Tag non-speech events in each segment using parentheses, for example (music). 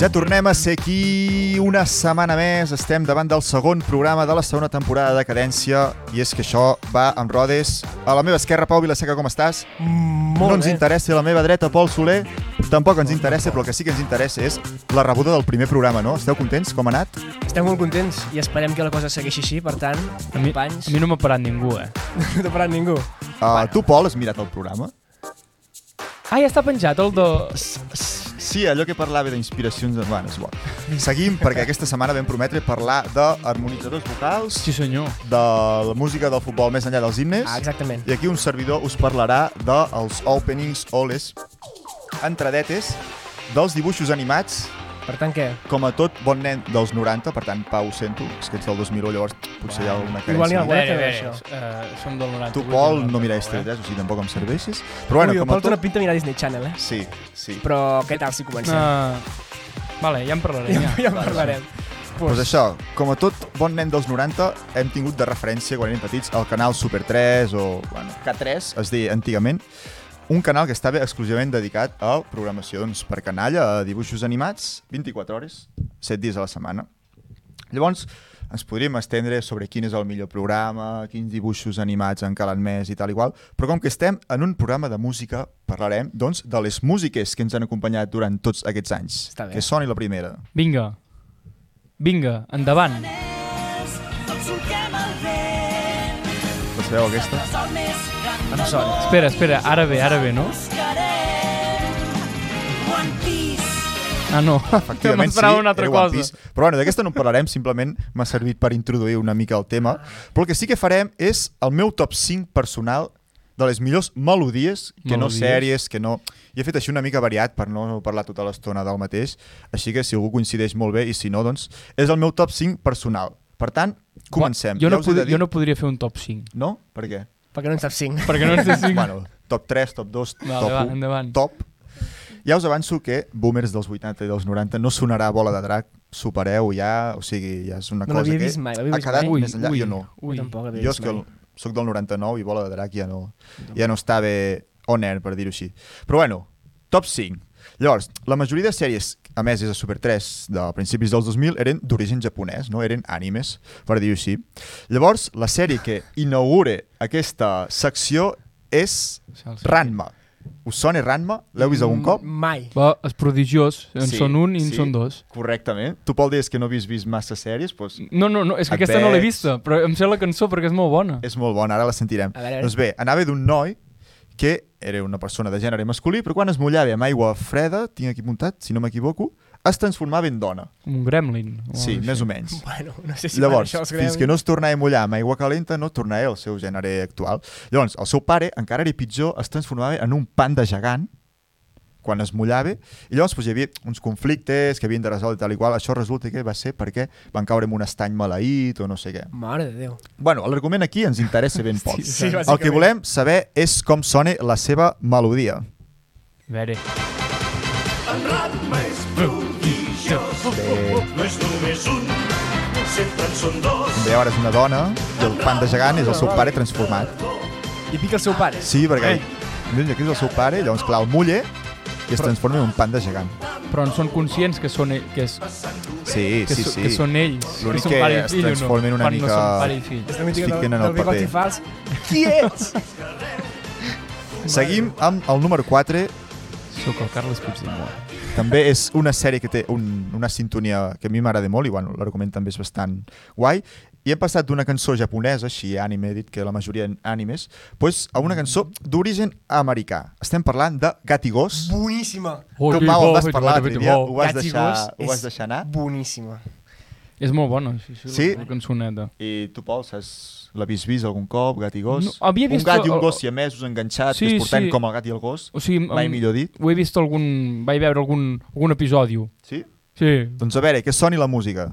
Ja tornem a ser aquí una setmana més. Estem davant del segon programa de la segona temporada de Cadència i és que això va amb rodes. A la meva esquerra, Pau Vilaseca, com estàs? Molt no ens bé. interessa a la meva dreta, Pol Soler. Tampoc ens interessa, però el que sí que ens interessa és la rebuda del primer programa, no? Esteu contents? Com ha anat? Estem molt contents i esperem que la cosa segueixi així, per tant, A mi, a companys, mi no m'ha parat ningú, eh? no t'ha parat ningú. Uh, tu, Pol, has mirat el programa? Ah, ja està penjat el de... Sí, allò que parlava d'inspiracions... Bueno, és bo. (laughs) Seguim, perquè aquesta setmana vam prometre parlar d'harmonitzadors vocals, Sí, senyor. de la música del futbol més enllà dels himnes, Ah, exactament. i aquí un servidor us parlarà dels openings o les entradetes dels dibuixos animats, Per tant, què? com a tot bon nen dels 90, per tant, Pau, ho sento, és que ets del 2001, llavors potser hi ha alguna Igual n'hi carència. ha alguna. veure, fer veure, això. eh, som del 90. Tu, Pol, no miraves TV3, o sigui, tampoc em serveixes. Però bueno, Ui, com a Pol té una tot... pinta de mirar Disney Channel, eh? Sí, sí. Però què tal si eh? comencem? (laughs) Uh, vale, ja en parlarem. Ja, ja en Vale, parlarem. Pues això, com a tot bon nen dels 90, hem tingut de referència quan érem petits el canal Super 3 o bueno, K3, es deia antigament, un canal que estava exclusivament dedicat a programacions per canalla, a dibuixos animats, 24 hores, 7 dies a la setmana. Llavors, ens podríem estendre sobre quin és el millor programa, quins dibuixos animats en calen més i tal i qual, però com que estem en un programa de música, parlarem, doncs, de les músiques que ens han acompanyat durant tots aquests anys. Està bé. Que soni la primera. Vinga. Vinga, endavant. La sabeu, Doncs aquesta? Em sona. Espera, espera, ara ve, ara ve, no? Ah, (laughs) no. Efectivament, M'esperava sí, una altra era One cosa. Piece. Però bueno, d'aquesta no en parlarem, simplement m'ha servit per introduir una mica el tema. Però el que sí que farem és el meu top 5 personal de les millors melodies, que no Melodies. sèries, que no... I he fet així una mica variat per no parlar tota l'estona del mateix, així que si algú coincideix molt bé i si no, doncs és el meu top 5 personal. Per tant, comencem. Jo, no us he de pod- dir- jo no podria fer un top 5. No? Per què? Perquè no en saps 5. (laughs) Perquè no ens té 5. (laughs) Bueno, top 3, top 2, Vale, top va, 1, endavant. top. Ja us avanço que Boomers dels 80 i dels 90 no sonarà bola de drac, supereu ja, o sigui, ja és una No cosa l'havia que vist mai, l'havia ha vist quedat mai. ui, més enllà, ui, jo no. Ui. Tampoc l'havia Jo és vist que mai. sóc del 99 i bola de drac ja no, ja no estava on air, per dir-ho així. Però bueno, top 5. Llavors, la majoria de sèries emeses a Super 3 de principis dels 2000 eren d'origen japonès, no? Eren animes, per dir-ho així. Llavors, la sèrie que inaugure aquesta secció és Salsa. Ranma. Us sona Ranma? L'heu vist algun cop? Mai. (laughs) Va, és prodigiós. En sí, són un i en sí, sí. són dos. Correctament. Tu, Pol, deies que no havies vist massa sèries, doncs No, no, no, és que Et aquesta no l'he veig. vista, però em sé la cançó perquè és molt bona. és molt bona, ara la sentirem. A veure, a veure. Doncs bé, anava d'un noi que era una persona de gènere masculí, però quan es mullava amb aigua freda, tinc aquí apuntat, si no m'equivoco, es transformava en dona. Un gremlin. o sí, alguna més cosa o menys. Bueno, no sé si Llavors, van això els fins que no es tornava a mullar amb aigua calenta, no tornaré al seu gènere actual. Llavors, el seu pare, encara era pitjor, es transformava en un panda gegant quan es mullava, i llavors pues, hi havia uns conflictes que havien de resoldre tal i qual. Això resulta que va ser perquè van caure en un estany maleït o no sé què. Mare de Déu. Bueno, l'argument aquí ens interessa ben poc. (laughs) Sí, el que bàsicament. volem saber és com sona la seva melodia. així. A veure. No és només un, sempre en són dos. Bé, ara és una dona i el panda gegant és el seu pare transformat. I pica el seu pare. Sí, perquè mira, aquí és el seu pare, llavors clar, el muller i es transforma en un panda gegant. Però en són conscients que són, ell- que és, Sí, que, sí, so- sí. que són ells. L'únic són que pare i es fill o no? transformen una Quan mica- No són pare i fill. És la mítica Es del, fiquen en el del bigoti paper. fals. Qui ets? Seguim amb el número 4. Sóc el Carles Puigdemont. També és una sèrie que té un, una sintonia que a mi m'agrada molt i bueno, l'argument també és bastant guai. I hem passat d'una cançó japonesa, així anime, he dit que la majoria en animes, doncs a una cançó d'origen americà. Estem parlant de Gatigos. Boníssima. Oh, tu, Pau, en vas parlar l'altre dia, ho vas, Gats i deixar, gos ho vas és deixar anar. Boníssima. És molt bona, sí, sí, Sí? la cançoneta. I tu, Pol, saps, l'havies vist algun cop, gat i gos? No, havia un vist gat i un el- gos siamesos enganxats, Sí, que es porten sí. com el gat i el gos. O sigui, Mai em- millor dit. Ho he vist algun... Vaig veure algun, algun episodi. Sí? Sí. Doncs a veure, que soni la música.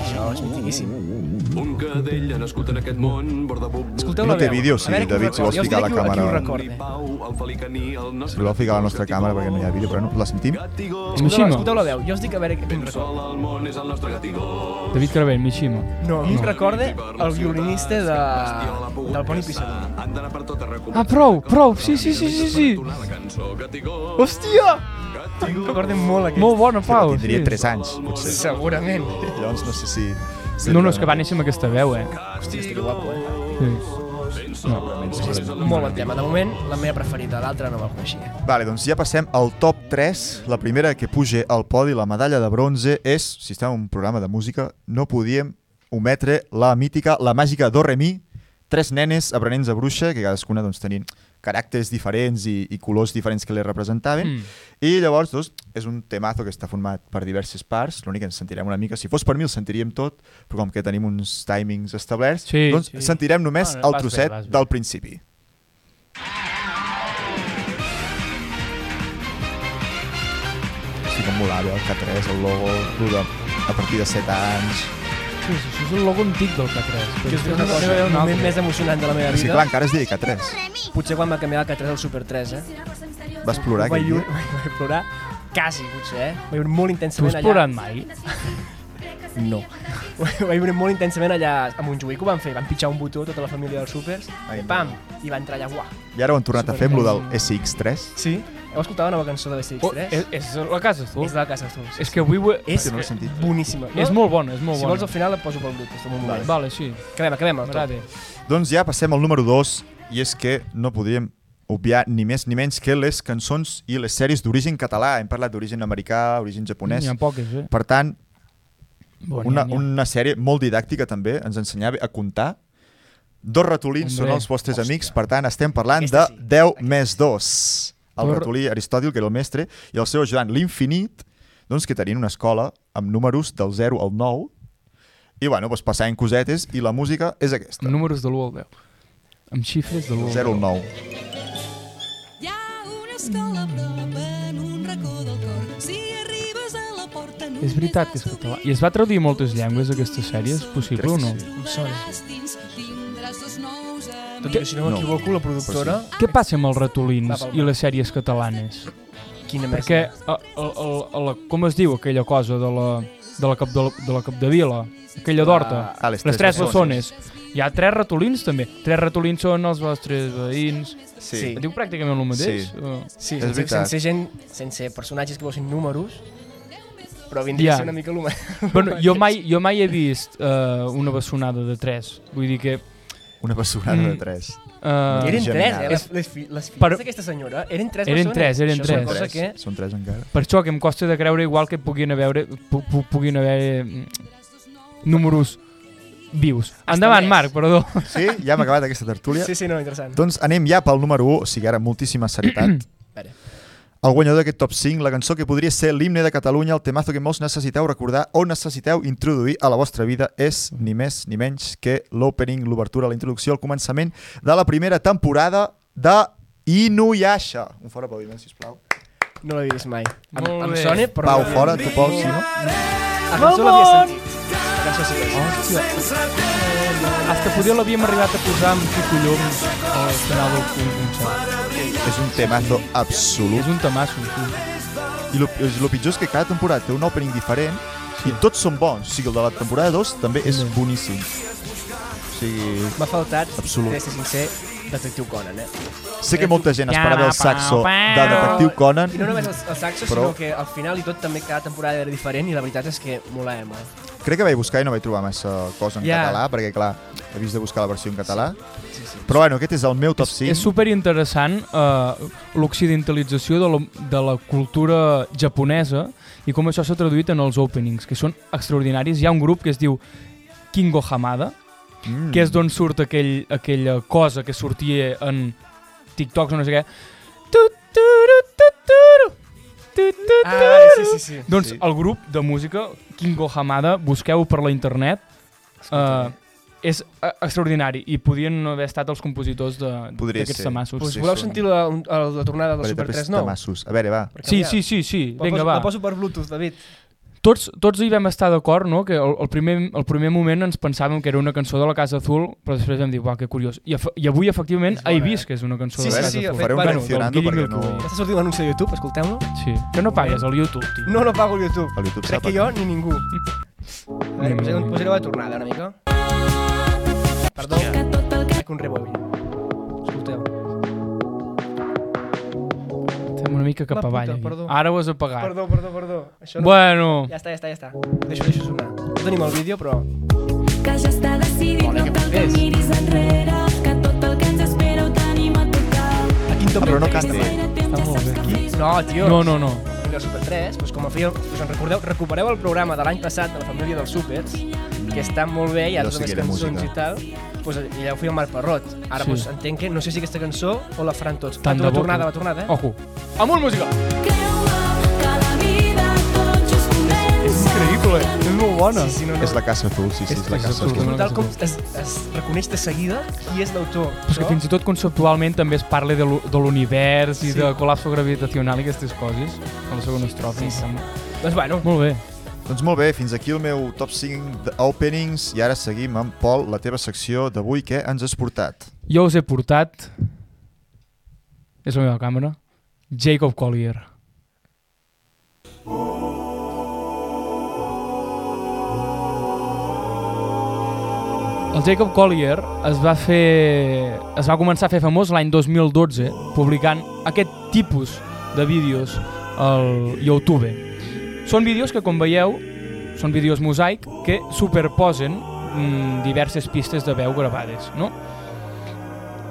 Això és mític, boníssim. Un cadell ha nascut en aquest món, bordabuc... Escolteu No la té veu. vídeo, A sí, veure qui ho David, si vols recorda. Jo us ficar la diré qui ho- càmera. Qui ho Ni recorda. Pau, el felicaní, el nostre... Si voleu ficar la nostra càmera perquè no hi ha vídeo, però no la sentim. Gatigó, Escolteu, Mishima. escolteu la veu. Jo us dic a veure qui em un recorda. sol al món és el nostre gatigó. David Caravell, Mishima. No, a mi em recorda el violinista de... del Pony Pissador. Han d'anar per tot arreu. Ah, prou, prou, sí, sí, sí, sí, sí. Tornar la cançó, gatigó, Hòstia! Em recorda molt aquest. Molt bona, Pau. Tindria sí. 3 anys, potser. Segurament. Llavors no sé si... No, no, és que va néixer amb aquesta veu, eh? Hòstia, estic guapo, eh? Sí. Molt bon tema. De moment, la meva preferida, l'altra no me'l coneixia. Vale, doncs ja passem al top 3. La primera que puja al podi, la medalla de bronze, és, si està en un programa de música, no podíem ometre la mítica, la màgica do re mi, tres nenes aprenents de bruixa, que cadascuna doncs, tenien caràcters diferents i, i colors diferents que les representaven. Mm. Mm. I llavors, doncs, és un temazo que està format per diverses parts, l'únic que ens sentirem una mica, si fos per mi el sentiríem tot, però com que tenim uns timings establerts, Sí, doncs sí. sentirem només no, No, no, no, vas el bé, trosset vas bé. del principi. Sí, com volava, el K3, el logo, el de, a partir de 7 anys... Sí, sí, això és el logo antic del K3. Jo us dic una cosa, el moment més emocionant de la meva Sí, clar, vida, encara es deia K3. potser quan va canviar el K3 al Super 3, eh? Vas plorar (laughs) Ho vaig, aquell viure, dia? vaig plorar quasi, potser, eh? Vaig viure molt Tu intensament has allà. plorat mai? No. (laughs) Ho vaig viure molt intensament allà a Montjuïc, ho van fer, van pitjar un botó tota la família dels súpers, Ai, i pam, i va entrar allà, uah. I ara ho han tornat a fer amb lo del SX3. Sí? eh, Heu escoltat la nova cançó de Oh, BCX3? és, és la casa, tu? és de la Casa Azul. És que avui... ho he- és Sí, no l'he sentit. boníssima. No? És molt bona, és molt Si vols, bona. al final la poso pel Bluetooth, en un moment. Vale, sí. Acabem, acabem el top. M'agrada. Doncs ja passem al número 2, i és que no podíem obviar ni més ni menys que les cançons i les sèries d'origen català. Hem parlat d'origen americà, origen japonès... N'hi ha poques, eh? Per tant, Bon, una, una sèrie molt didàctica també, ens ensenyava a comptar. Dos ratolins són Hombre, els vostres amics, per tant estem parlant Aquesta de sí, 10 més 2. El Dos- ratolí Aristòtil, que era el mestre, i el seu ajudant, l'infinit, doncs que tenien una escola amb números del 0 al 9, i bueno, doncs passaven cosetes, i la música és aquesta, Amb números de l'1 al 10. Amb xifres de del l'1 al 10. 0 al 9. Hi ha una escola a prop en un racó del cor. Si arribes a la porta només És veritat que és català. I es va traduir a moltes llengües, aquesta sèrie? És possible o no? Em sona. Dins tindràs dos nous amics. Tot i que, si no No. m'equivoco, la productora... Què passa amb els ratolins Va, va, va. i les sèries catalanes? Quina més? Perquè, a, a, a, a la, com es diu aquella cosa de la, de la, cap, de la, de la Capdevila? Aquella d'Horta? Ah, les les tres tres bessones. bessones. Hi ha tres ratolins, també. Tres ratolins són els vostres veïns. Sí. Diu pràcticament el mateix. Sí. o- Sí, És sense, veritat. sense gent, sense personatges que fossin números, però vindria Ja. a ser una mica (laughs) l'humà. Bueno, jo mai, jo mai he vist uh, una bessonada de tres. Vull dir que... Una bessurada Mm. de 3. Uh, Eren tres, Geminades. eh? Les, les, fi, les filles Però- d'aquesta senyora eren tres Eren persones. tres, eren Això tres. és una cosa que... Són 3 encara. per això que em costa de creure igual que puguin haver, pu, pu, puguin haver mm, números vius. Endavant, més. Marc, perdó. Sí, ja hem acabat aquesta tertúlia. Sí, sí, no, interessant. Doncs anem ja pel número 1, o sigui ara moltíssima (clears throat) serietat. Vale. El guanyador d'aquest top 5, la cançó que podria ser l'himne de Catalunya, el temazo que molts necessiteu recordar o necessiteu introduir a la vostra vida és ni més ni menys que l'opening, l'obertura, la introducció, el començament de la primera temporada de Inuyasha. Un fort aplaudiment, sisplau. No l'havia vist mai. Em, Molt em bé. sona, Pau, però... no l'havia fora, vist. tu Pau, si no? La cançó l'havia sentit. La cançó sí que és. Fins que potser l'havíem arribat a posar amb Quicollom al final del concert. És un temazo absolut. És un tamasso, sí. I lo, és, lo pitjor és que cada temporada té un opening diferent i tots són bons. O sigui, el de la temporada 2 també és boníssim. O sigui, M'ha faltat, Absolut. he de ser sincer, Detectiu Conan, eh? sé que molta gent esperava el saxo de Detectiu Conan. I no només el, el saxo, Però- sinó que al final i tot també cada temporada era diferent i la veritat és que eh? molava molt. Crec que vaig buscar i no vaig trobar massa cosa en Ja. català, perquè, clar, he vist de buscar la versió en català. Sí, sí. Però, bueno, aquest és el meu top 5. És superinteressant eh, l'occidentalització de, la- de la cultura japonesa i com això s'ha traduït en els openings, que són extraordinaris. Hi ha un grup que es diu Kingo Hamada, Mm. que és d'on surt aquell, aquella cosa que sortia en TikToks o no sé què. Tu, tu, ru, tu, tu, ru. Tu, tu, tu, Ah, ru. sí, sí, sí. Doncs Sí. el grup de música Kingo Hamada, busqueu per la internet, eh, és eh, extraordinari i podien no haver estat els compositors de- Podria d'aquests ser. temassos. Pues Sí, voleu sí. sentir la, un- el- la tornada del Perquè Super també és 3 nou? tamassos. A veure, va. Per Sí, canviar? sí, sí, sí. La Vinga, poso, va. La poso per Bluetooth, David. Tots, tots hi vam estar d'acord, no? Que el, el, primer, el primer moment ens pensàvem que era una cançó de la Casa Azul, però després vam dir, uau, que curiós. I, af- i avui, efectivament, És bona, he eh? vist que és una cançó Sí, de sí, la Casa sí, ha Azul. fet Faré un bueno, mencionando del perquè Guillem no... Milcou. Està sortint un anunci de YouTube, escolteu-lo. Sí, que no pagues al YouTube, tio. No, no pago YouTube. El YouTube sap, Crec que jo ni ningú. A veure, posaré, posaré la tornada una mica. Perdó, Que tot pel que fac un rebobin. Escolteu. Estem una mica cap La puta, avall. aquí. perdó. Ara ho has apagat. Perdó, perdó, perdó. Això no... Bueno, Ja està, ja està, ja està. Ho Deixo, deixo sonar. No tenim el vídeo, però... que ja està decidit, Bona, no que cal que fes. miris enrere, que tot el que ens espera ho tenim a tocar. A quin eh? Ah, top però no canti. Era temps, ja saps que fris- No, tio. no, no, no. Família Super 3, doncs com a fill, doncs en recordeu, recupereu el programa de l'any passat de la família dels súpers, que està molt bé, hi ha Jo totes sí que les era cançons música. i tal, doncs, i ja ho feia el Marc Parrot. Ara Sí. doncs, entenc que no sé si aquesta cançó o la faran tots. Ah, Tant tu, de la bo, Oh. tornada, tu. la tornada, eh? Ojo. Amunt música! Creu-me que la vida tot just comença. Increïble, és molt bona. Sí, sí, no, no. És la Casa Azul, sí, sí, és la És Casa Azul. absolutament Tal com es, es reconeix de seguida qui és l'autor. Però és que això- fins i tot conceptualment també es parla de l'u- de l'univers i Sí. de col·lapso gravitacional i aquestes coses. A la segona estrofa, em sembla. Doncs bueno, Molt bé. Doncs molt bé, fins aquí el meu top 5 d'openings i ara seguim amb Pol, la teva secció d'avui, que ens has portat? Jo us he portat... És la meva càmera. Jacob Collier. El Jacob Collier es va fer... es va començar a fer famós l'any 2012 publicant aquest tipus de vídeos al YouTube. Són vídeos que, com veieu, són vídeos mosaic que superposen mm, diverses pistes de veu gravades, no?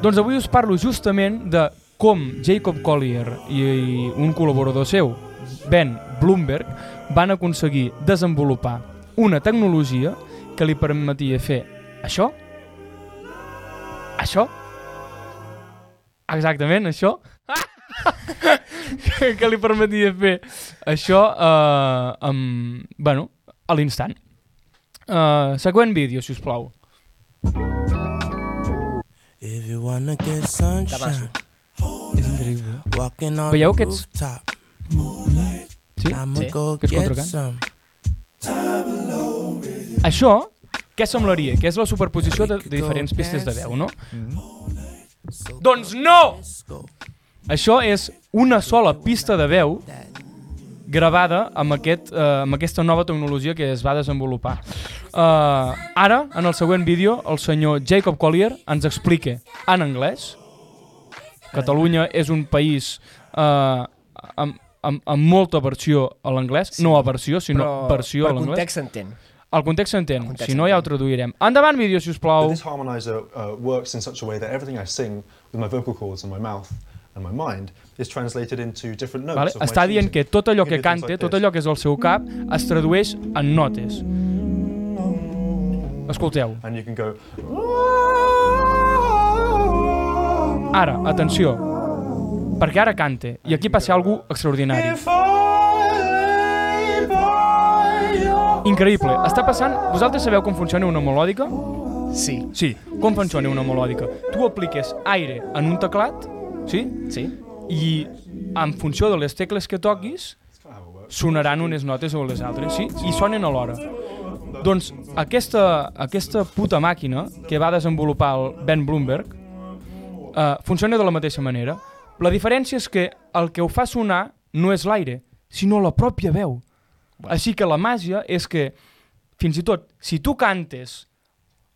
Doncs avui us parlo justament de com Jacob Collier i, i un col·laborador seu, Ben Bloomberg, van aconseguir desenvolupar una tecnologia que li permetia fer això, això, exactament això, (laughs) que, que li permetia fer això eh, amb, bueno, a l'instant. Eh, següent vídeo, si us plau. If you wanna get sunshine, És increïble. walking on Veieu the aquests- rooftop, Sí? I'ma Sí. go Aquests get contracants. some. Això, què semblaria? Que és la superposició de, de diferents pistes de veu, no? Doncs no! Això és una sola pista de veu gravada amb, aquest, eh, amb aquesta nova tecnologia que es va desenvolupar. Eh, ara, en el següent vídeo, el senyor Jacob Collier ens explica en anglès Catalunya és un país eh, amb, amb, amb molta versió a l'anglès, no a versió, sinó però versió a per l'anglès. context s'entén. El context s'entén, context si no ja ho traduirem. Endavant vídeo, si us plau. This harmonizer uh, works in such a way that everything I sing with my vocal cords and my mouth and my mind is translated into different notes. Vale? of my Està dient que choosing. tot allò It que can be things cante, like tot this. allò que és el seu cap, es tradueix en notes. Escolteu. And you can go. Ara, atenció. Perquè ara cante. I aquí passa algú extraordinari. Increïble. Està passant... Vosaltres sabeu com funciona una melòdica? Sí. Sí. Com funciona una melòdica? Tu apliques aire en un teclat, sí? Sí? i en funció de les tecles que toquis sonaran unes notes o les altres, sí? I sonen alhora. Doncs aquesta, aquesta puta màquina que va desenvolupar el Ben Bloomberg eh, funciona de la mateixa manera. La diferència és que el que ho fa sonar no és l'aire, sinó la pròpia veu. Així que la màgia és que, fins i tot, si tu cantes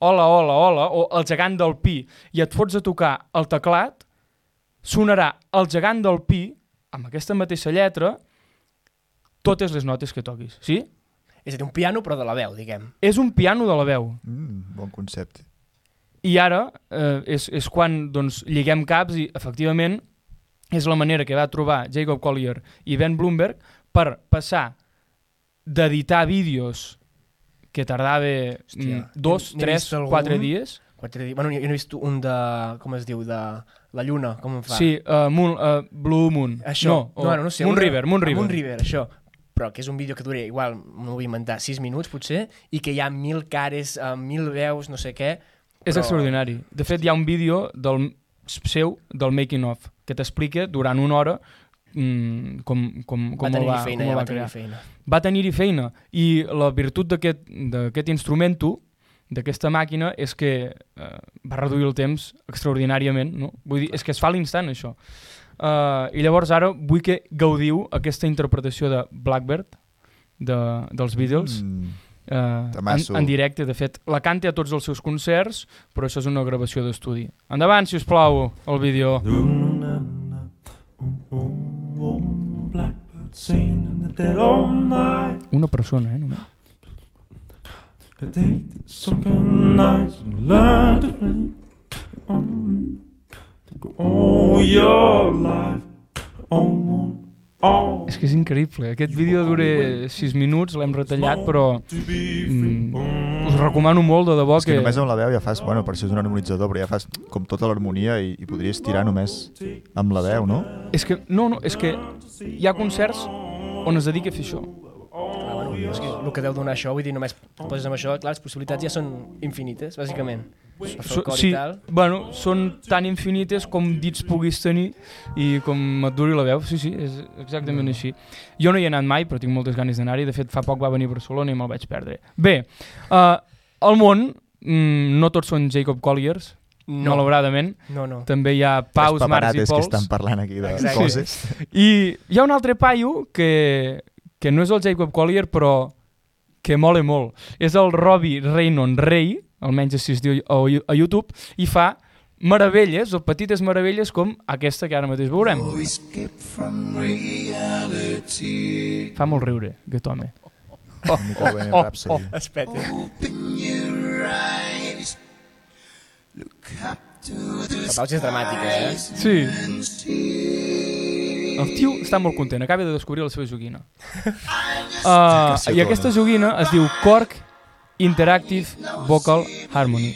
Hola, hola, hola, o El gegant del pi, i et fots a tocar el teclat, sonarà El gegant del pi, amb aquesta mateixa lletra, totes les notes que toquis, sí? És a dir, un piano però de la veu, diguem. És un piano de la veu. Mm, bon concepte. I ara eh, és, és quan doncs, lliguem caps i, efectivament, és la manera que va trobar Jacob Collier i Ben Bloomberg per passar d'editar vídeos que tardava Hòstia, Hòstia, dos, n'he- n'he tres, vist algun. quatre dies. Quatre dies. Bueno, jo jo n'he vist un de... Com es diu? De la lluna, com en fa? Sí, uh, moon, uh, Blue Moon. Això. No, bueno, no sé, Moon un- River, Moon ah, River. Moon River, això. Però que és un vídeo que dura igual, m'ho vull inventar, 6 minuts potser, i que hi ha mil cares, eh, mil veus, no sé què. És però- extraordinari. De fet, hi ha un vídeo del seu, del making of, que t'explica durant una hora mm, com, com, com va el tenir va, feina, com el ja va va tenir crear. feina. va tenir-hi feina i la virtut d'aquest d'aquest instrumento d'aquesta màquina és que eh, va reduir el temps extraordinàriament no? vull dir, és que es fa a l'instant això uh, i llavors ara vull que gaudiu aquesta interpretació de Blackbird de, dels Beatles mm. Mm, en, Temasso. en directe de fet la canta a tots els seus concerts però això és una gravació d'estudi endavant si us plau el vídeo Blackbird singing in the dead all night. una persona eh, només. I take some kind of nights and learn to play on to go all your life on on és que és increïble aquest vídeo dura 6 minuts l'hem retallat però to be free. Mm, us recomano molt de debò és que que, només amb la veu ja fas, bueno, per això és un harmonitzador, però ja fas com tota l'harmonia i, i podries tirar només amb la veu, no? és que no, no, és que hi ha concerts on es dedica a fer això Ah, bueno, és que el que deu donar això, vull dir, només poses amb això, clar, les possibilitats ja són infinites, bàsicament. Per fer so, el cor sí, i tal. bueno, són tan infinites com dits puguis tenir i com et duri la veu sí, sí, és exactament Mm. així jo no hi he anat mai però tinc moltes ganes d'anar-hi de fet fa poc va venir a Barcelona i me'l vaig perdre bé, uh, al món mm, no tots són Jacob Colliers No. malauradament No, no. també hi ha Paus, Els Mars i paparates que Pols estan parlant aquí de Exacte. coses. I hi ha un altre paio que, que no és el Jacob Collier, però que mola molt. És el Robbie Reynon Rey, almenys així es diu a, a YouTube, i fa meravelles o petites meravelles com aquesta que ara mateix veurem. Fa molt riure, aquest home. Oh, Bohemian Rhapsody. Es peti. La pausa és dramàtica, eh? Sí. El tio està molt content, acaba de descobrir la seva joguina. (laughs) Uh, I aquesta joguina es diu Cork Interactive Vocal Harmony.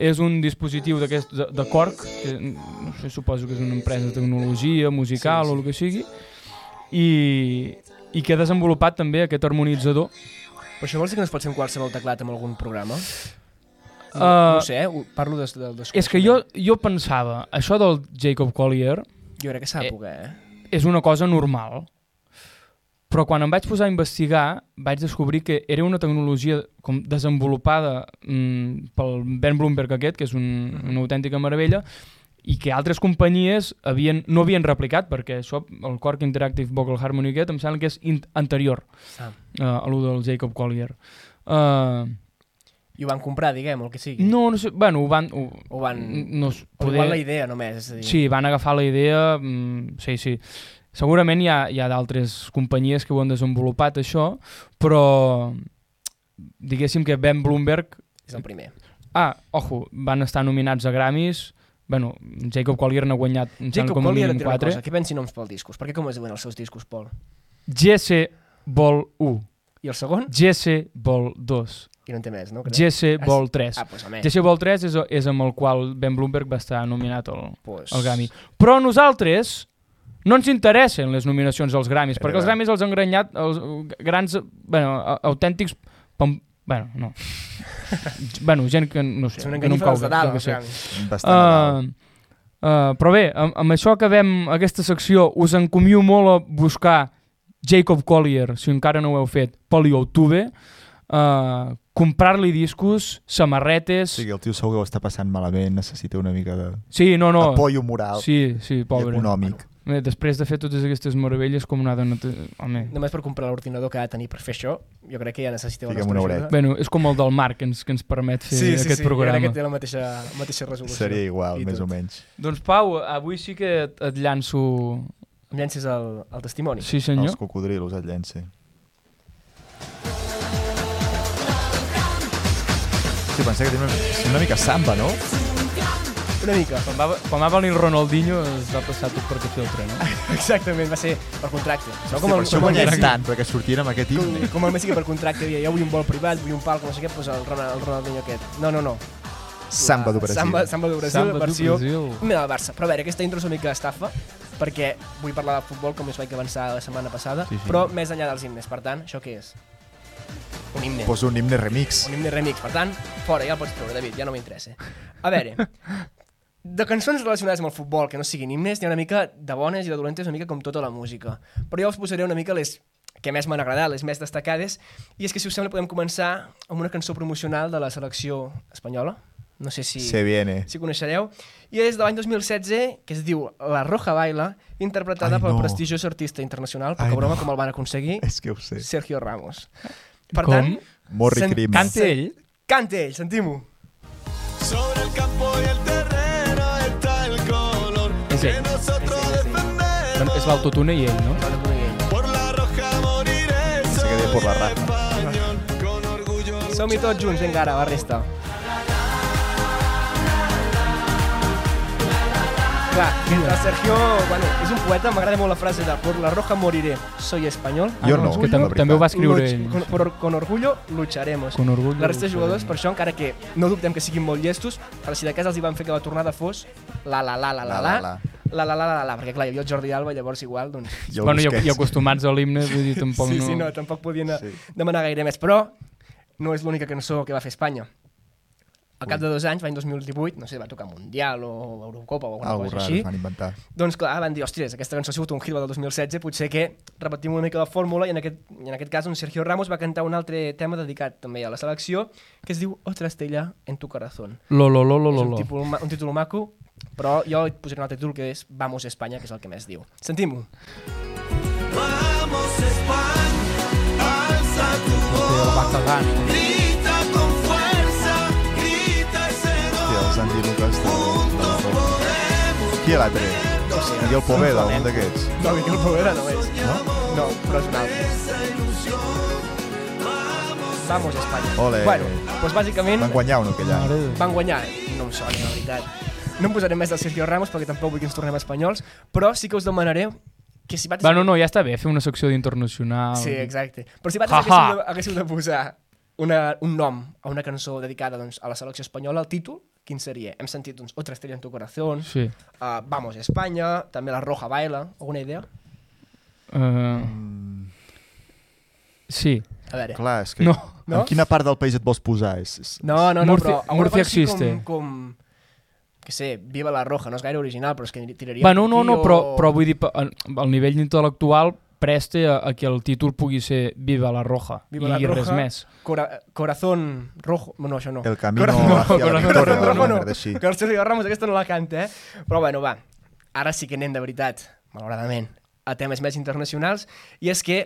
És un dispositiu d'aquest de, de Cork, que no sé, suposo que és una empresa de tecnologia musical sí, sí. o el que sigui, i, i que ha desenvolupat també aquest harmonitzador. Però això vols dir que no es pot fer amb qualsevol teclat amb algun programa? Uh, no ho sé, eh? Ho- parlo des del desconeixement. és que jo, jo pensava, això del Jacob Collier, Jo crec que s'ha de Eh. poder, eh? és una cosa normal. Però quan em vaig posar a investigar, vaig descobrir que era una tecnologia com desenvolupada mm, pel Ben Bloomberg aquest, que és un, una autèntica meravella, i que altres companyies havien, no havien replicat, perquè això, el Cork Interactive Vocal Harmony aquest, em sembla que és in- anterior Ah. eh, a lo del Jacob Collier. Uh, I ho van comprar, diguem, el que sigui. no, no sé, bueno, ho van... Ho, O van- No, s- O igual la idea, només, és a dir... Sí, van agafar la idea, mm, sí, sí. Segurament hi ha, hi ha d'altres companyies que ho han desenvolupat, això, però diguéssim que Ben Bloomberg... És el primer. Ah, ojo, van estar nominats a Grammys, bueno, Jacob Collier n'ha guanyat em sembla, Jacob com a Collier mínim et diré una 4. cosa, què pensi noms pel discos? Per què com es diuen els seus discos, Pol? GC Vol 1, I el segon? GC Vol 2, I no en té més, no? Crec. GC Ah, Vol 3. Ah, doncs home. GC Vol 3 és, és amb el qual Ben Bloomberg va estar nominat al, Pues... el Grammy. Però a nosaltres no ens interessen les nominacions als Grammys, perquè els Grammys els han engrenyat els eh, grans, eh, bueno, a- autèntics... Pam, bueno, no. bueno, gent que no sé, Són que no em cau enganyifes bé. de dalt, jo què els sé. Grammys. Bastant uh, Uh, uh, però bé, amb, amb això acabem aquesta secció. Us encomio molt a buscar Jacob Collier, si encara no ho heu fet, pel YouTube, uh, comprar-li discos, samarretes... O sigui, el tio segur que ho està passant malament, necessita una mica de... Sí, no, no. Apoyo moral Sí, sí, i pobre. econòmic. Bé, Eh, després de fer totes aquestes meravelles, com una dona... te- Home... Només per comprar l'ordinador que ha de tenir per fer això, jo crec que ja necessiteu la Fiquem nostra una horeta. ajuda. Bueno, és com el del Marc, que ens, que ens permet fer sí, sí, aquest sí, programa. jo crec que té la mateixa, la mateixa resolució. Seria igual, I més tot. o menys. Doncs Pau, avui sí que et, et llanço... Em llences el, el testimoni. Sí, Els senyor. cocodrilos et llencen. Sí, pensava que tenia una, sí, una mica samba, no? Una mica. (laughs) Quan va, quan va venir Ronaldinho es va passar tot per aquí el tren. Eh? Exactament, va ser per contracte. No, Com per això com, guanyem Messi, tant, perquè sortien amb aquest Eh, com, himne. com el Messi que per contracte deia, jo vull un vol privat, vull un palco, no sé què, doncs el, Ronald, el Ronaldinho aquest. No, no, no. Samba La- do Brasil. Samba, samba do Brasil, Samba samba do versió Brasil. himne del Barça. Però a veure, aquesta intro és una mica estafa, perquè vull parlar de futbol, com us vaig avançar la setmana passada, sí, sí. però més enllà dels himnes. Per tant, això què és? Un himne. Posa un himne remix. Un himne remix, per tant, fora, ja el pots treure, David, ja no m'interessa. A veure, (laughs) de cançons relacionades amb el futbol, que no siguin himnes, n'hi ha una mica de bones i de dolentes, una mica com tota la música. Però jo us posaré una mica les que més m'han agradat, les més destacades, i és que, si us sembla, podem començar amb una cançó promocional de la selecció espanyola. No sé si, Se viene. (laughs) si coneixereu. I és de l'any 2016, que es diu La Roja Baila, interpretada Ai, Ai, no. no. pel prestigiós artista internacional, Ai, poca broma no. com el van aconseguir, És que ho sé. Sergio Ramos. Per Com? tant, Morri Sen- crim. Canta ell? canta ell, sentim-ho. Sobre el campo y el terreno está el color És que ell. nosotros defendemos. És l'autotune i ell, no? Quan el conegui. Por la roja moriré, Se quedé por la soy raja. español, con orgullo Som-hi tots junts, vinga ara, va, resta. Clar, mentre Sergio... Bueno, és un poeta, m'agrada molt la frase de Por la roja moriré, soy español. Jo Ah, no, és que la tam veritat. també ho va escriure Luch- ell. Con, por, con orgullo lucharemos. Con orgullo la resta de lucharemos. jugadors, per això, encara que no dubtem que siguin molt llestos, però si de cas els hi van fer que la tornada fos la la la la la la la la la la la la, perquè clar, hi havia el Jordi Alba, llavors igual, doncs... Jo el Bueno, i, Busquets. i (laughs) acostumats a l'himne, vull dir, tampoc sí, no... sí, no, tampoc podien Sí. sí. demanar gaire més, però no és l'única cançó que va fer Espanya. Al cap de dos anys, l'any 2018, no sé, va tocar Mundial o Eurocopa o alguna Algo cosa raro així, es van Ah, inventar. doncs clar, van dir, ostres, aquesta cançó ha sigut un hit del 2016, potser que repetim una mica la fórmula i en aquest, i en aquest cas un Sergio Ramos va cantar un altre tema dedicat també a la selecció que es diu Otra estrella en tu corazón. Lo, lo, lo, lo, és lo, un, lo. títol, ma- un títol maco, però jo et posaré un altre títol que és Vamos España, que és el que més diu. Sentim-ho. Vamos España, alza tu voz, Va cagant. grita con fuerza, grita ese Hòstia, el gol. Santi Lucas també. de la roba. Qui l'altre? Miguel Poveda, un d'aquests. No, Miquel Poveda no és. No? No, però és un altre. Vamos, Espanya. Ole. Bueno, doncs bàsicament Van guanyar un aquell any. van guanyar. No em sona, la veritat. No em posaré més del Sergio Ramos perquè tampoc vull que ens tornem espanyols, però sí que us demanaré que si bates... Va, no, no, ja està bé, fer una secció d'internacional. Sí, exacte. Però si bates Ha, ha. haguéssiu de, haguéssiu de posar una, un nom a una cançó dedicada doncs, a la selecció espanyola, el títol, quin seria? Hem sentit doncs, Otra estrella en tu corazón, Sí. uh, Vamos España, també La Roja Baila, alguna idea? Uh... Sí. A veure. Clar, és que... No. En quina part del país et vols posar? És, és... No, no, no, Murcia- però alguna Murcia cosa així existe. Com, com, que sé, Viva la Roja, no és gaire original, però és que tiraria... Va, no, per no, aquí no, o- però, però vull dir, pa- al al nivell intel·lectual preste a, a que el títol pugui ser Viva la Roja Viva i la Roja. res més. Cora, corazón rojo... No, això no. El camino Corazón- hacia la Corazón victoria, rojo, alguna no. merda així. Que el Sergio Ramos aquesta no la canta, eh? Però bueno, va. Ara sí que anem de veritat, malauradament, a temes més internacionals, i és que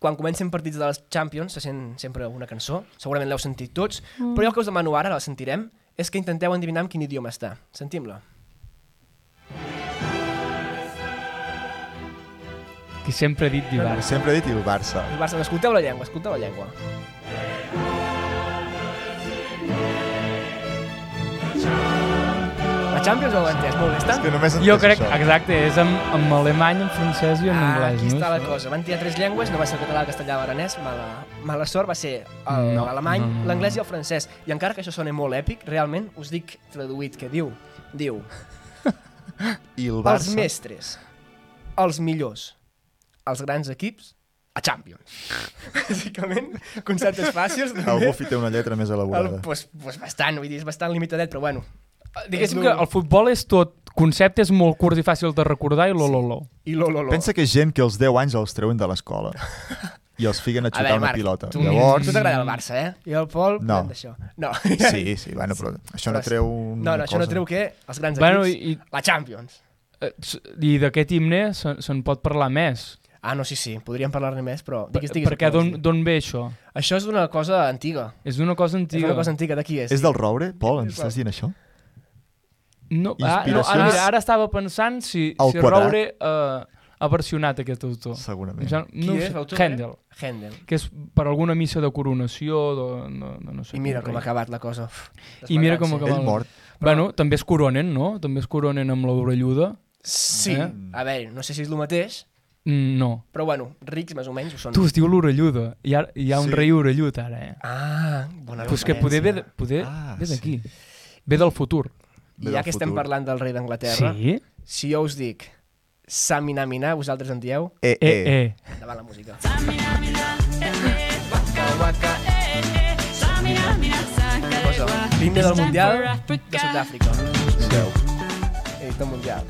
quan comencen partits de les Champions se sent sempre una cançó, segurament l'heu sentit tots, mm. però jo el que us demano ara, la sentirem, és que intenteu endevinar en quin idioma està. Sentim-la. Que sempre he dit Viva. Sempre he dit el Barça. El Barça, escolteu la llengua, escolteu la llengua. La Champions no l'he entès, molt bé, està? És que només Jo entès crec, això. exacte, és en, en alemany, en francès i en Ah, anglès. aquí no? està la cosa. Van triar tres llengües, no va ser el català, el castellà, l'aranès, mala, mala sort, va ser No, l'alemany, no, no, no. l'anglès i el francès. I encara que això soni molt èpic, realment us dic traduït que diu, diu, I el els Barça. mestres, els millors, els grans equips, a Champions. (laughs) Bàsicament, conceptes fàcils. El només. Buffy té una lletra més El, elaborada. pues, pues bastant, vull dir, és bastant limitadet, però bueno. Diguéssim que el futbol és tot, concepte és molt curt i fàcil de recordar i lo, lo, lo. I lo, lo, lo. Pensa que és gent que als 10 anys els treuen de (laughs) l'escola i els fiquen a A xutar veure, una Marc, pilota. tu- Llavors... Tu t'agrada el Barça, eh? I el Pol, No. parlem d'això. No. Sí, sí, bueno, però això no Però- treu una (laughs) No, no, això no cosa. treu que els grans equips, Bueno, bueno, i- i... la Champions. Eh, s- I d'aquest himne se- se'n pot parlar més. Ah, no, sí, sí, podríem parlar-ne més, però digues, digues. el Perquè que d'on vols dir. d'on ve això? Això és una cosa antiga. És una cosa Antiga. antiga. És una cosa antiga, de qui és? És del roure, Pol? Ens estàs dient això? No, ah, no, Inspiracions- ara, mira, ara estava pensant si, Al si quadrat. Roure eh, ha versionat aquest autor. Segurament. Em sembla- Qui no ho és sé, l'autor, eh? Händel, Händel. que és per alguna missa de coronació, de, no, no, no sé. I mira com ha rei. acabat la cosa. Uf, I mira com desmadrant-se. acaba. Ell mort. Bueno, també es coronen, no? També es coronen amb l'orelluda. Sí, Eh? a veure, no sé si és el mateix, Mm, No. però bueno, rics més o menys ho són. Tu, es diu l'orelluda. Hi, ha, hi ha un Sí. rei orellut, ara, eh? Ah, bona Però és que poder ve, de- poder Ah, ve d'aquí. Ve del futur. Ve I ja del que estem futur. parlant del rei d'Anglaterra, Sí? si jo us dic Saminamina, vosaltres en dieu, Eh, Eh, eh. davant la música. Cosa, l'himne del Mundial de Sud-àfrica. Veu. directe al Mundial.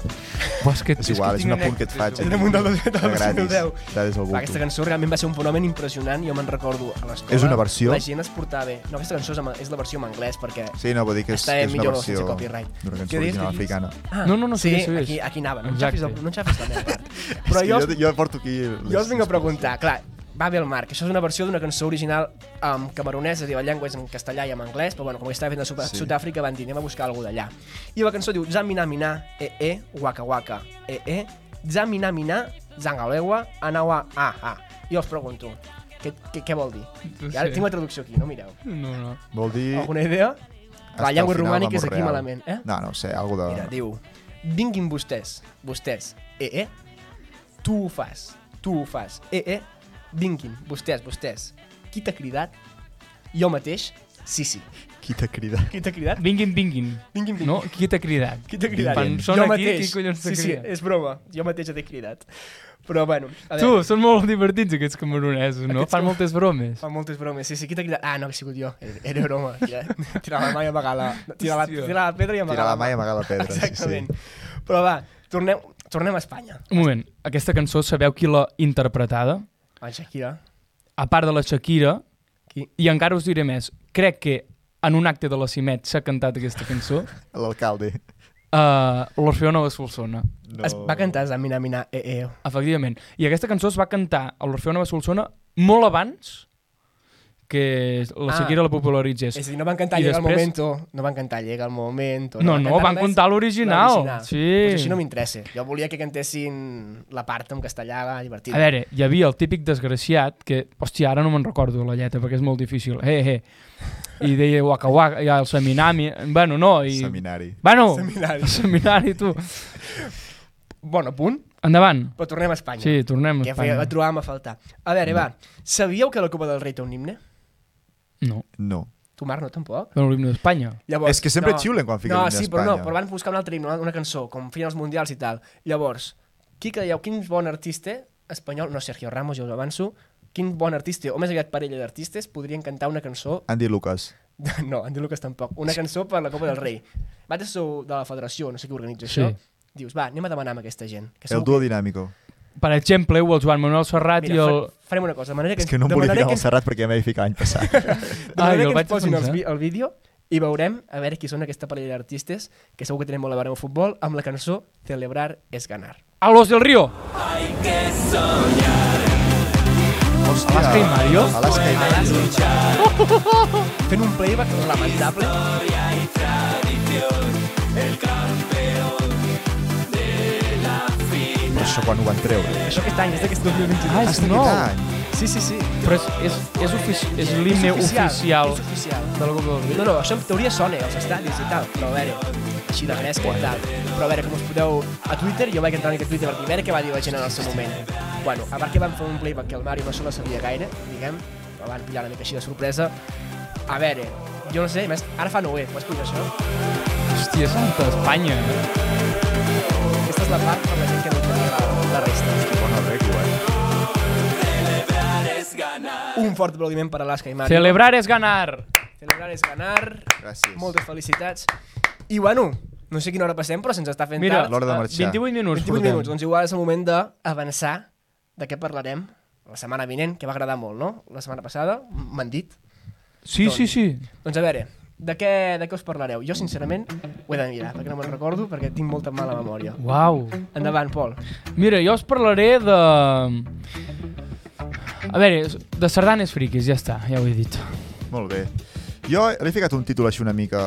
Buah, és que, És igual, és tinc un apunt que et faig. El Mundial del del Era 2010. gratis. Era des del Va, bulto. aquesta cançó realment va ser un fenomen impressionant, jo me'n recordo a l'escola. És una versió? La gent es portava bé. No, aquesta cançó és, en- és la versió en anglès, perquè... Sí, no, vull dir que és, Està que bé, és una millor versió sense copyright. d'una Què cançó dius, original què dius? africana. Ah, No, no, no, sí, segueix, segueix. Aquí, aquí anava, no en Exacte. xafis, el- no en xafis la meva part. Però És que jo, jo, jo porto aquí... les- jo us vinc a les- preguntar, clar, va bé el Marc, això és una versió d'una cançó original um, camerunesa, és a dir, la llengua és en castellà i en anglès, però bueno, com que estava fent a Sud- Sí. Sud-àfrica van dir, anem a buscar alguna d'allà. I la cançó diu, Zamina Mina, e e, waka waka, e e, Zamina Mina, zangalewa, anawa, ah, ah. Jo us pregunto, què, què, què vol dir? I ara sé. tinc la traducció aquí, no mireu. No, no. Vol dir... Alguna idea? hasta La el llengua final, romànica és l'amor aquí real. malament, eh? No, no ho sé, algo de... Mira, Ah. diu, vinguin vostès, vostès, eh, eh, tu ho fas, tu ho fas, eh, eh, vinguin, vostès, vostès, qui t'ha cridat? Jo mateix? Sí, sí. Qui t'ha cridat? Qui t'ha cridat? Vinguin, vinguin. Vinguin, vinguin. No? Qui t'ha cridat? Qui t'ha cridat? Quan jo sona aquí, mateix. qui collons t'ha sí, sí, cridat? és broma, jo mateix t'he cridat. Però bueno, a Tu, veure, són molt divertits aquests camerunesos, no? Aquests Fan com- moltes bromes. fa moltes bromes, sí, sí, qui t'ha cridat? Ah, no, que he sigut jo, era, era broma. (laughs) Tira, tirar la mà i amagar la... Tirar la, Hòstia. tirar la pedra i amagar Tirar la mà i mà. amagar la pedra. Exactament. Però va, tornem, tornem a Espanya. Un moment, aquesta cançó sabeu qui l'ha interpretada? A Shakira. A part de la Shakira, Qui? i encara us diré més, crec que en un acte de la Cimet s'ha cantat aquesta (laughs) cançó, Sí. L'alcalde. a l'Orfeo Nova Solsona. No. Es va cantar Zamina Mina E E. Efectivament. I aquesta cançó es va cantar a l'Orfeo Nova Solsona molt abans que la Ah. Shakira la popularitzés. És a dir, no van cantar I Llega després- el Momento, no van cantar Llega el Momento... No, no, van res. contar l'original. L'original. Pues Sí. així no m'interessa. Jo volia que cantessin la part en castellà, va, divertida. A veure, hi havia el típic desgraciat que, hòstia, ara no me'n recordo la lletra perquè és molt difícil. He, he. I deia waka waka, i el seminami... Bueno, no, i... Seminari. Bueno, Seminari. el seminari, tu. Bon punt, Endavant. però tornem a Espanya. Sí, tornem a Que feia, Espanya. Mm. la trobàvem a faltar. A veure, va, sabíeu que la Copa del Rei té un himne? No, No. Tu, Marc, no, tampoc? però l'himne d'Espanya. Llavors, És que sempre xiulen quan fiquen no, l'himne sí, però no, d'Espanya. però van buscar un altre himne, una cançó, com feien els mundials i tal. Llavors, qui creieu, quin bon artista espanyol, no Sergio Ramos, ja us ho avanço, quin bon artista, o més aviat parella d'artistes, podrien cantar una cançó, Andy Lucas. (laughs) no, Andy Lucas tampoc, una cançó per la Copa del Rei. Vaig a sou de la federació, no sé qui organitza sí. això, Sí. dius, va, anem a demanar amb aquesta gent. Que El segur duo dinàmico. Per exemple, o el Joan Manuel Serrat Mira, i el... fa- farem una cosa, de manera que, És que no em volia de ficar manera que al ens, Serrat perquè ja m'he ficat l'any passat. (laughs) de Ah, jo manera el que vaig ens posin els defensar. vi- el vídeo i veurem a veure qui són aquesta parella d'artistes, que segur que tenen molt a veure amb el futbol, amb la cançó Celebrar és ganar. A los del Río! Alaska i Mario? Alaska i Mario. fent un playback lamentable. Però això quan ho van treure? Això aquest any, és d'aquest 2022. Ah, és nou! Sí, sí, sí. Però és, és, és, ofici és l'himne oficial És oficial. de la Copa del Rei. No, no, això en teoria sona als estadis i tal, però a veure, així de fresca i tal. Però a veure com us podeu... A Twitter, jo vaig entrar en aquest Twitter per dir, a veure què va dir la gent en el seu moment. Bueno, a part que van fer un playback que el Mario no se la sabia gaire, diguem, la van pillar una mica així de sorpresa. A veure, jo no sé, a més, ara fa no ho he, pots posar això? Hòstia, santa Espanya. eh? Aquesta és la part per la gent que no tenia la, la resta. Bona regla, eh? Un fort aplaudiment per Alaska i Mario. Celebrar és ganar! Celebrar és ganar. Gràcies. Moltes felicitats. I bueno, no sé quina hora passem, però se'ns està fent Mira, tard. l'hora de eh, marxar. 28 minuts 28 portem. minuts, doncs igual és el moment d'avançar de què parlarem la setmana vinent, que va agradar molt, no? La setmana passada, m- m'han dit. Sí, sí, sí. Doncs a veure, de què, de què us parlareu? Jo, sincerament, ho he de mirar, perquè no me'n recordo, perquè tinc molta mala memòria. Uau. Endavant, Pol. Mira, jo us parlaré de... A veure, de sardanes friquis, ja està, ja ho he dit. Molt bé. Jo li he ficat un títol així una mica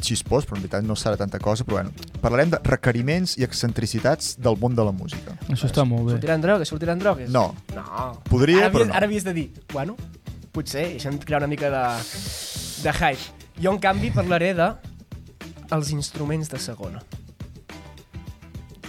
xispós, però en veritat no serà tanta cosa, però bueno. Parlarem de requeriments i excentricitats del món de la música. Això està molt bé. Sortiran drogues, sortiran drogues? No. No. Podria, ara havies- però no. Ara havies de dir, bueno, potser, i deixa'm crear una mica de, de hype. Jo, en canvi, parlaré de els instruments de segona.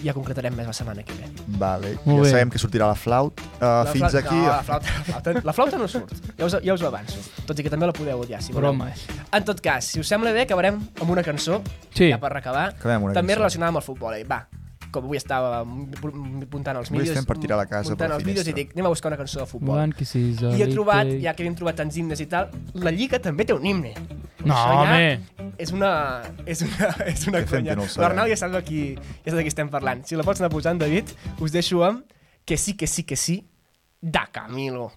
Ja concretarem més la setmana que ve. Vale. ja Molt bé. sabem que sortirà Mm. la flaut. Uh, fins flauta- aquí. No, la flauta, la, flauta, la flauta no surt, ja us, ja us ho avanço. Tot i que també la podeu odiar, si voleu. Broma. En tot cas, si us sembla bé, acabarem amb una cançó, Sí. ja per acabar, Acabem amb una també cançó. relacionada amb el futbol. Eh? Va, com avui estava apuntant els Avui vídeos, estem per tirar la casa per muntant la els vídeos i finestra. dic, anem a buscar una cançó de futbol. One kisses I he trobat, ja que hem trobat tants himnes i tal, la Lliga també té un himne. No, Això ja- home. És una... És una, és una Què fem conya. que no ho sabem? L'Arnau ja sap de qui, ja sap de qui estem parlant. Si la pots anar posant, David, us deixo amb que sí, que sí, que sí, de Camilo.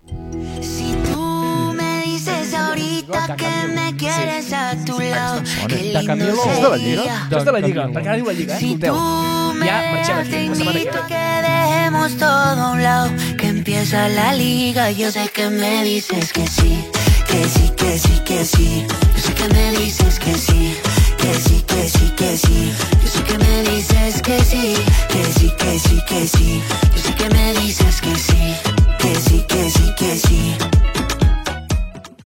Si tú me dices ahorita que me quieres a tu lado, qué Sonen. lindo És de la Lliga? sería. Això és de la Lliga, perquè ara diu la Lliga, eh? Si Escolteu. tú me Ja marxem dejas, te aquí, la setmana que ve. invito a que dejemos todo a un lado, que empieza la liga. Yo sé que me dices que sí, que sí, que sí, que sí. Yo sé que me dices que sí, que sí, que sí, que sí. Yo sé que me dices que sí,